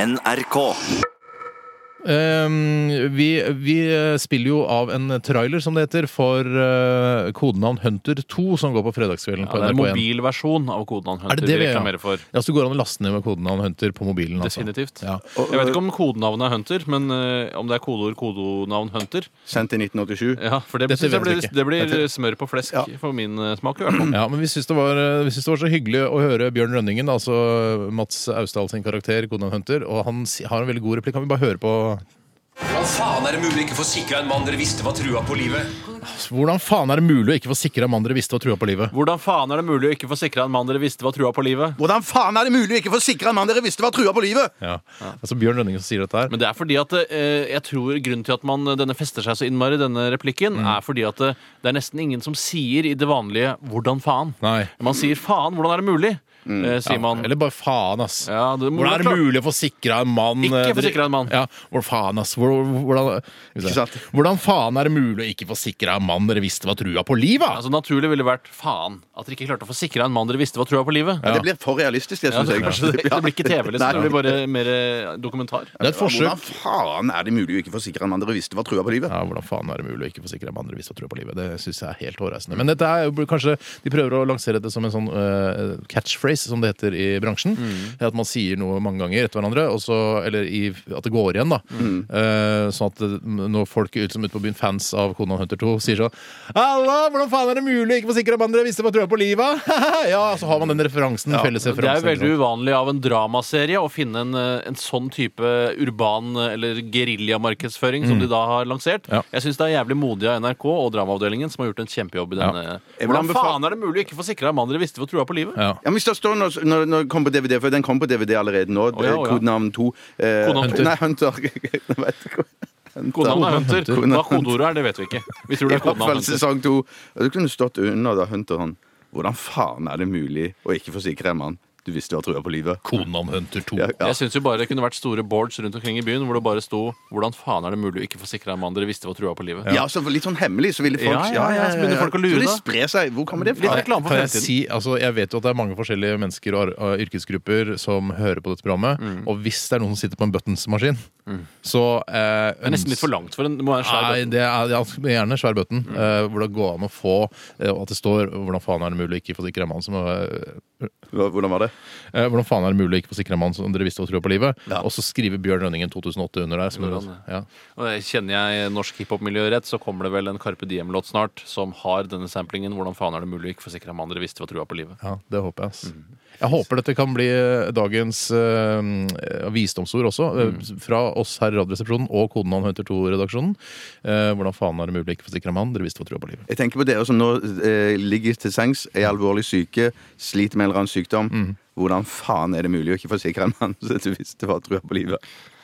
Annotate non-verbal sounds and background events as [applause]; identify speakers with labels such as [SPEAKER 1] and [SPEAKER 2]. [SPEAKER 1] NRK.
[SPEAKER 2] Um, vi, vi eh, spiller jo av en trailer, som det heter, for eh, kodenavn Hunter 2, som går på fredagskvelden
[SPEAKER 3] Ja,
[SPEAKER 2] på
[SPEAKER 3] det er en
[SPEAKER 2] NRK1.
[SPEAKER 3] mobilversjon av kodenavn
[SPEAKER 2] Er det
[SPEAKER 3] Hunter
[SPEAKER 2] det
[SPEAKER 3] vi
[SPEAKER 2] vi- ja?
[SPEAKER 3] reklamerer for.
[SPEAKER 2] Ja, så det går an å laste ned med kodenavn Hunter på mobilen. Altså.
[SPEAKER 3] Definitivt.
[SPEAKER 2] Ja.
[SPEAKER 3] Jeg vet ikke om kodenavnet er Hunter, men eh, om det er kodeord kodenavn Hunter.
[SPEAKER 4] Sendt i 1987.
[SPEAKER 3] Ja, for det,
[SPEAKER 2] Dette
[SPEAKER 3] synes jeg
[SPEAKER 2] vet
[SPEAKER 3] blir,
[SPEAKER 2] vi ikke.
[SPEAKER 3] det blir smør på flesk for min eh, smak. i hvert fall.
[SPEAKER 2] Ja, men vi syns det, var, eh, vi syns det var så hyggelig å høre Bjørn Rønningen, altså Mats Austdal sin karakter, kodenavn Hunter, og han si- har en veldig god replikk. Kan vi bare høre på
[SPEAKER 5] Hva faen er det mulig ikke få sikra en mann dere visste var trua på livet?
[SPEAKER 2] Hvordan faen er det mulig å ikke få sikra en mann dere visste var trua på livet?
[SPEAKER 3] Hvordan faen er det mulig å ikke få sikra en mann dere visste var trua på livet?
[SPEAKER 4] Hvordan faen er det mulig å ikke få sikra en mann dere visste var trua på livet?
[SPEAKER 2] Ja. Altså Bjørn Rønningen som sier dette her.
[SPEAKER 3] Men det er fordi at eh, jeg tror grunnen til at man, eh, denne fester seg så innmari, denne replikken,
[SPEAKER 2] Mm.
[SPEAKER 3] er fordi at eh, det er nesten ingen som sier i det vanlige 'hvordan faen'.
[SPEAKER 2] Nei. Mm.
[SPEAKER 3] Man sier 'faen, hvordan er det mulig'? eh, sier man.
[SPEAKER 2] Eller bare faen, ass.
[SPEAKER 3] Ja, det må
[SPEAKER 2] Hvordan er det
[SPEAKER 3] klart-
[SPEAKER 2] mulig å få sikra en mann
[SPEAKER 3] Ikke
[SPEAKER 2] eh,
[SPEAKER 3] få
[SPEAKER 2] dri-
[SPEAKER 3] sikra en mann.
[SPEAKER 2] Ja, hvor faen, ass. Hvor, hvordan,
[SPEAKER 4] sant?
[SPEAKER 2] hvordan faen er det mulig å ikke få sikra en mann dere visste var trua på livet?
[SPEAKER 3] Altså, naturlig ville vært 'faen' at dere ikke klarte å få sikra en mann dere visste var trua på livet.
[SPEAKER 4] Det blir for realistisk, det,
[SPEAKER 3] Ja,
[SPEAKER 4] syns
[SPEAKER 3] det,
[SPEAKER 4] jeg.
[SPEAKER 3] kanskje
[SPEAKER 4] [laughs]
[SPEAKER 3] det, det blir ikke TV,
[SPEAKER 4] Nei.
[SPEAKER 3] liksom. Det blir bare mer eh, dokumentar.
[SPEAKER 2] Det er et
[SPEAKER 4] Hvordan
[SPEAKER 2] forsøk.
[SPEAKER 4] faen er det mulig å ikke få sikra en mann dere visste var trua på livet?
[SPEAKER 2] Ja, hvordan faen er det mulig å ikke få sikra en mann dere visste var trua på livet? Det syns jeg er helt hårreisende. Men dette er jo kanskje De prøver å lansere dette som en sånn eh, catchphrase, som det heter i bransjen.
[SPEAKER 3] Mm.
[SPEAKER 2] At man sier noe mange ganger etter hverandre, og så, eller i, at det går igjen, da.
[SPEAKER 3] Mm.
[SPEAKER 2] Eh, sånn at eh, når folk ut, som ute på byen, fans av Conan Hunter 2, sier sånn Halla, hvordan faen er det mulig å ikke få sikra en mann dere visste var trua på livet? [laughs] ja, så har man den referansen, felles
[SPEAKER 3] Det er
[SPEAKER 2] referansen.
[SPEAKER 3] jo veldig
[SPEAKER 2] ikke sant?
[SPEAKER 3] uvanlig av en dramaserie å finne en, eh, en sånn type urban eh, eller geriljamarkedsføring som de da har lansert.
[SPEAKER 2] Ja.
[SPEAKER 3] Jeg syns det er jævlig modig av NRK og Dramaavdelingen som har gjort en kjempejobb i denne.
[SPEAKER 4] Jeg vil
[SPEAKER 3] Hvordan
[SPEAKER 4] anbefale-
[SPEAKER 3] faen er det mulig å ikke få sikra en mann dere visste var trua på livet?
[SPEAKER 2] Ja.
[SPEAKER 4] Ja, men hvis det står når, når, når det kommer på DVD, for den kom på DVD allerede nå,
[SPEAKER 3] Å, ja, å, ja.
[SPEAKER 4] kodenavn 2 eh,
[SPEAKER 3] Kodenavn to.
[SPEAKER 4] Nei, Hunter. [laughs] Jeg vet ikke.
[SPEAKER 3] Kodenavn er Hunter.
[SPEAKER 4] Hunter.
[SPEAKER 3] Hva kodeordet er, det vet vi ikke. Vi tror
[SPEAKER 4] I
[SPEAKER 3] det er
[SPEAKER 4] hvert fall
[SPEAKER 3] kodenavn Hunter.
[SPEAKER 4] sesong 2. Du kunne stått under da, Hunter han. Hvordan faen er det mulig å ikke få sikra en mann du visste var trua på livet?
[SPEAKER 2] Conan Hunter 2.
[SPEAKER 4] Ja, ja.
[SPEAKER 3] Jeg syns jo bare det kunne vært store boards rundt omkring i byen hvor det bare sto 'Hvordan faen er det mulig å ikke få sikra en mann dere visste var trua på livet'?
[SPEAKER 4] Ja, så Litt sånn hemmelig, så ville folk
[SPEAKER 3] Ja, ja, ja, så begynner folk å lure,
[SPEAKER 4] Så de
[SPEAKER 3] da.
[SPEAKER 4] sprer seg. Hvor kommer det
[SPEAKER 3] Litt
[SPEAKER 4] fra?
[SPEAKER 3] reklame for
[SPEAKER 2] Kan jeg,
[SPEAKER 3] fremtiden.
[SPEAKER 2] si, altså, jeg vet jo at det er mange forskjellige mennesker og ar- og yrkesgrupper som hører på dette programmet.
[SPEAKER 3] Mm.
[SPEAKER 2] Og hvis det er noen som sitter på en buttonsmaskin, så eh,
[SPEAKER 3] Det er nesten litt for langt for en, det må være en svær Mm.
[SPEAKER 2] Nei,
[SPEAKER 3] button.
[SPEAKER 2] det er ja, gjerne svær button. eh, hvor det går an å få eh, at det står 'Hvordan faen er det mulig å ikke få sikra en mann som eh,
[SPEAKER 4] Hva- Hvordan var det?
[SPEAKER 2] eh, Hvordan faen er det mulig å ikke få sikra en mann som dere visste var trua på livet? Og så skriver Bjørn Rønningen 2008 under der. Som,
[SPEAKER 3] Under han,
[SPEAKER 2] ja.
[SPEAKER 3] Og jeg- Kjenner jeg norsk hiphop-miljø rett, så kommer det vel en Carpe Diem-låt snart som har denne samplingen. Hvordan faen er det mulig å ikke forsikre om andre visste hva trua på livet?
[SPEAKER 2] Ja, det håper jeg. ass. Jeg håper dette kan bli eh, dagens eh, visdomsord også, eh, fra oss her i Radioresepsjonen og Kodenavn Hunter 2-redaksjonen. Eh, hvordan faen er det mulig å ikke forsikre mann? Dere visste hva trua på livet.
[SPEAKER 4] Jeg tenker på dere som nå eh, ligger til sengs, er alvorlig syke,
[SPEAKER 3] Mm.
[SPEAKER 4] [laughs] sliter med en eller annen sykdom. Hvordan faen er det mulig å ikke forsikre en mann som du visste var trua på livet?